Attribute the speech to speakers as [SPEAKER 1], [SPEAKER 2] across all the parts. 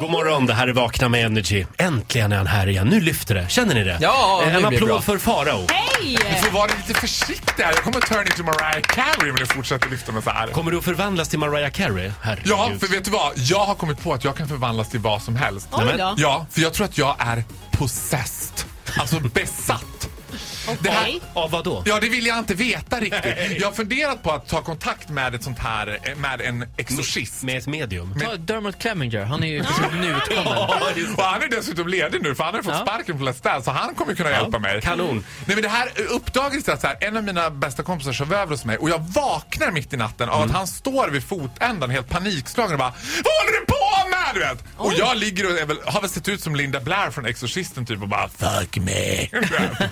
[SPEAKER 1] God morgon, det här är Vakna med Energy. Äntligen är han här igen. Nu lyfter det. Känner ni det?
[SPEAKER 2] Ja,
[SPEAKER 1] Eh,
[SPEAKER 2] det
[SPEAKER 1] En
[SPEAKER 2] blir
[SPEAKER 1] applåd
[SPEAKER 2] bra.
[SPEAKER 1] för Farao.
[SPEAKER 3] Hej!
[SPEAKER 4] Du får vara lite försiktig här. Jag kommer turn into Mariah Carey om du fortsätter lyfta mig så här.
[SPEAKER 1] Kommer du att förvandlas till Mariah Carey? Herregud.
[SPEAKER 4] Ja, för vet du vad? Jag har kommit på att jag kan förvandlas till vad som helst.
[SPEAKER 3] Oj då.
[SPEAKER 4] Ja, för jag tror att jag är possessed. Alltså besatt. Det här,
[SPEAKER 3] Okej.
[SPEAKER 1] Av vad då?
[SPEAKER 4] ja, det vill jag inte veta riktigt. Jag har funderat på att ta kontakt med ett sånt här, eh, med en exorcist.
[SPEAKER 1] Med ett medium?
[SPEAKER 2] Ta Dermot Clemenger, han är ju liksom precis nyutkommen.
[SPEAKER 4] Och han är dessutom ledig nu för han har fått
[SPEAKER 2] Ja.
[SPEAKER 4] sparken från Let's Dance så han kommer kunna hjälpa mig.
[SPEAKER 1] kanon.
[SPEAKER 4] Nej men det här uppdagades det att så här, en av mina bästa kompisar sov över hos mig och jag vaknar mitt i natten av att han står vid fotändan helt panikslagen och bara Vad håller du på med? Du vet? Och jag ligger och är väl, har väl sett ut som Linda Blair från Exorcisten typ och bara Fuck me. Du vet.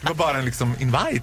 [SPEAKER 4] det var bara en liksom invite.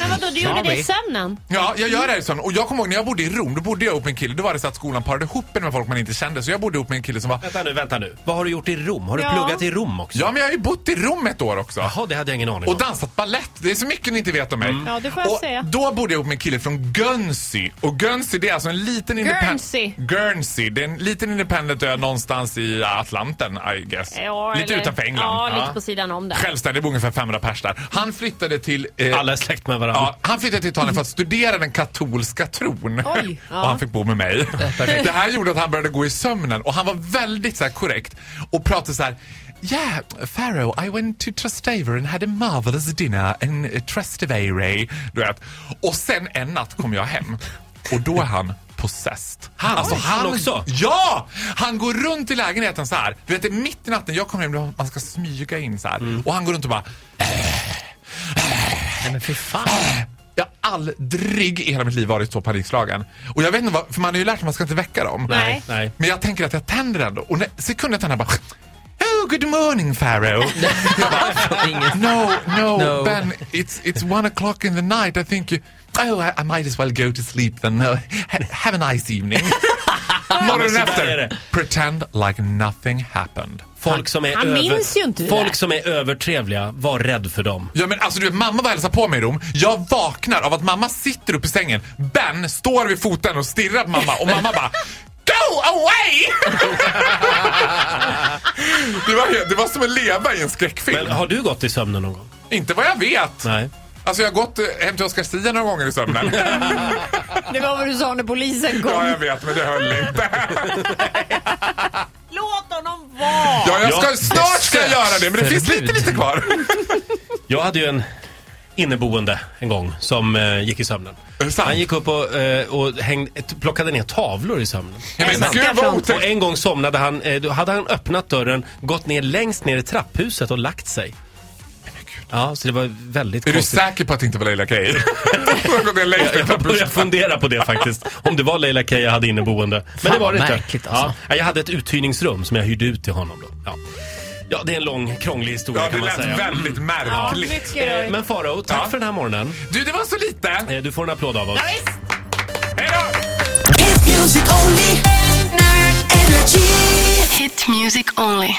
[SPEAKER 3] Men vadå, du gjorde det i sömnen?
[SPEAKER 4] Ja, jag gör det här i sån. Och jag kommer ihåg när jag bodde i Rom, då bodde jag ihop med en kille. Då var det så att skolan parade ihop en med folk man inte kände. Så jag bodde ihop med en kille som var
[SPEAKER 1] Vänta nu, vänta nu. Vad har du gjort i Rom? Har du
[SPEAKER 3] Ja.
[SPEAKER 1] pluggat i Rom också?
[SPEAKER 4] Ja, men jag har ju bott i Rom ett år också.
[SPEAKER 1] Jaha, det hade jag ingen aning om.
[SPEAKER 4] Och dansat ballett. Det är så mycket ni inte vet om mig.
[SPEAKER 3] Mm. Ja, det får jag
[SPEAKER 4] och
[SPEAKER 3] säga.
[SPEAKER 4] Då bodde jag ihop med en kille från Guernsey. Och Guernsey det är alltså en liten
[SPEAKER 3] Guernsey.
[SPEAKER 4] independent... Guernsey. Det är en liten independent ö någonstans i Atlanten, I guess.
[SPEAKER 3] Ja,
[SPEAKER 4] lite
[SPEAKER 3] eller-
[SPEAKER 4] utanför England.
[SPEAKER 3] Ja, lite på sidan om där.
[SPEAKER 4] Självständig, det bor ungefär 500 pers där. Han flyttade till... eh,
[SPEAKER 1] Alla är släkt med varandra.
[SPEAKER 4] Ja, han flyttade till Italien för att studera den katolska tron.
[SPEAKER 3] Oj, ja.
[SPEAKER 4] Och han fick bo med mig. Det här gjorde att han började gå i sömnen och han var väldigt så här, korrekt och pratade så här. Yeah, Pharaoh, I went to Trastevere and had a marvelous dinner in eh, Trastevere. Du vet. Och sen en natt kom jag hem och då är han possessed. Alltså, Han,
[SPEAKER 1] Oj, han också?
[SPEAKER 4] Ja! Han går runt i lägenheten så här. Du vet, det är mitt i natten, jag kommer hem, då man ska smyga in så här. Och han går runt och bara
[SPEAKER 2] Nej men fy fan.
[SPEAKER 4] Jag har aldrig i hela mitt liv varit så panikslagen. Och jag vet inte vad, för man har ju lärt sig att man ska inte väcka dem.
[SPEAKER 3] Nej.
[SPEAKER 1] Nej.
[SPEAKER 4] Men jag tänker att jag tänder ändå. Och när, sekunden jag tänder bara... Oh, good morning Pharaoh. jag bara, no, no,
[SPEAKER 2] No.
[SPEAKER 4] Ben, it's, it's one o'clock in the night. I think you... Oh, I, I might as well go to sleep then. No, ha, have a nice evening. Morgonen
[SPEAKER 1] men så där är
[SPEAKER 4] efter.
[SPEAKER 1] det.
[SPEAKER 4] Pretend like nothing happened.
[SPEAKER 1] Folk som är
[SPEAKER 3] Han
[SPEAKER 1] över...
[SPEAKER 3] minns ju inte det där.
[SPEAKER 1] Folk som är övertrevliga, var rädd för dem.
[SPEAKER 4] Ja men alltså du vet, mamma var och hälsade på mig i Rom. Jag vaknar av att mamma sitter uppe i sängen. Ben står vid foten och stirrar på mamma och mamma bara Go away! det, var, helt- det var som att leva i en skräckfilm.
[SPEAKER 1] Men har du gått i sömnen någon gång?
[SPEAKER 4] Inte vad jag vet.
[SPEAKER 1] Nej.
[SPEAKER 4] Alltså jag har gått eh, hem till Oscar Sia några gånger i sömnen.
[SPEAKER 3] Det var vad du sa när polisen
[SPEAKER 4] ja
[SPEAKER 3] kom.
[SPEAKER 4] jag vet men det höll inte.
[SPEAKER 3] Låt honom vara!
[SPEAKER 4] Ja, jag ska,
[SPEAKER 1] Ja,
[SPEAKER 4] snart ska jag göra det men det finns lite
[SPEAKER 2] besöksförbud.
[SPEAKER 4] lite kvar.
[SPEAKER 1] Jag hade ju en inneboende en gång som eh, gick i sömnen.
[SPEAKER 4] Är det sant?
[SPEAKER 1] Han gick upp och, eh, och hängde, t- plockade ner tavlor i sömnen.
[SPEAKER 4] Ja, men
[SPEAKER 3] sant?
[SPEAKER 4] gud vad
[SPEAKER 1] Och
[SPEAKER 4] otäckt.
[SPEAKER 1] en gång somnade han, eh, då hade han öppnat dörren, gått ner längst ner i trapphuset och lagt sig. Ja, så det var väldigt
[SPEAKER 4] Är du
[SPEAKER 1] konstigt.
[SPEAKER 4] säker på att det inte var Leila Kaye? Hon går ner längst i
[SPEAKER 1] Jag
[SPEAKER 4] trappan.
[SPEAKER 1] började fundera på det faktiskt. Om det var Leila Keja hade inneboende. Men
[SPEAKER 2] Fan,
[SPEAKER 1] det var det
[SPEAKER 2] vad
[SPEAKER 1] inte.
[SPEAKER 2] märkligt, alltså.
[SPEAKER 1] ja, jag hade ett uthyrningsrum som jag hyrde ut till honom då. Ja, ja det är en lång, krånglig historia
[SPEAKER 4] Ja, det
[SPEAKER 1] kan man säga.
[SPEAKER 4] lät väldigt
[SPEAKER 3] Ja,
[SPEAKER 4] märkligt.
[SPEAKER 3] mycket
[SPEAKER 1] Eh,
[SPEAKER 3] röj.
[SPEAKER 1] Men Farao, tack
[SPEAKER 4] Ja.
[SPEAKER 1] för den här morgonen.
[SPEAKER 4] Du, det var så lite.
[SPEAKER 1] Eh, Du får en applåd av oss.
[SPEAKER 4] Hej då!
[SPEAKER 5] Hit music only. Energy.
[SPEAKER 6] Hit music only.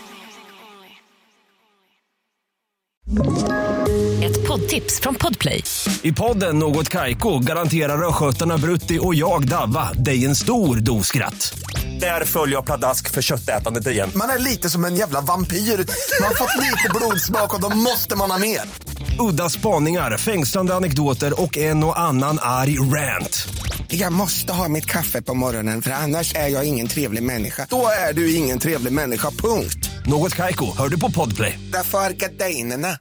[SPEAKER 7] Ett poddtips från Podplay.
[SPEAKER 8] I podden Något Kaiko garanterar östgötarna Brutti och jag, Davva, dig en stor dos skratt. Där följer jag pladask för köttätandet igen.
[SPEAKER 9] Man är lite som en jävla vampyr. Man har fått lite blodsmak och då måste man ha mer.
[SPEAKER 8] Udda spaningar, fängslande anekdoter och en och annan arg rant.
[SPEAKER 9] Jag måste ha mitt kaffe på morgonen för annars är jag ingen trevlig människa. Då är du ingen trevlig människa, punkt.
[SPEAKER 8] Något Kaiko, hör du på Podplay.
[SPEAKER 9] Därför arkadeinerna.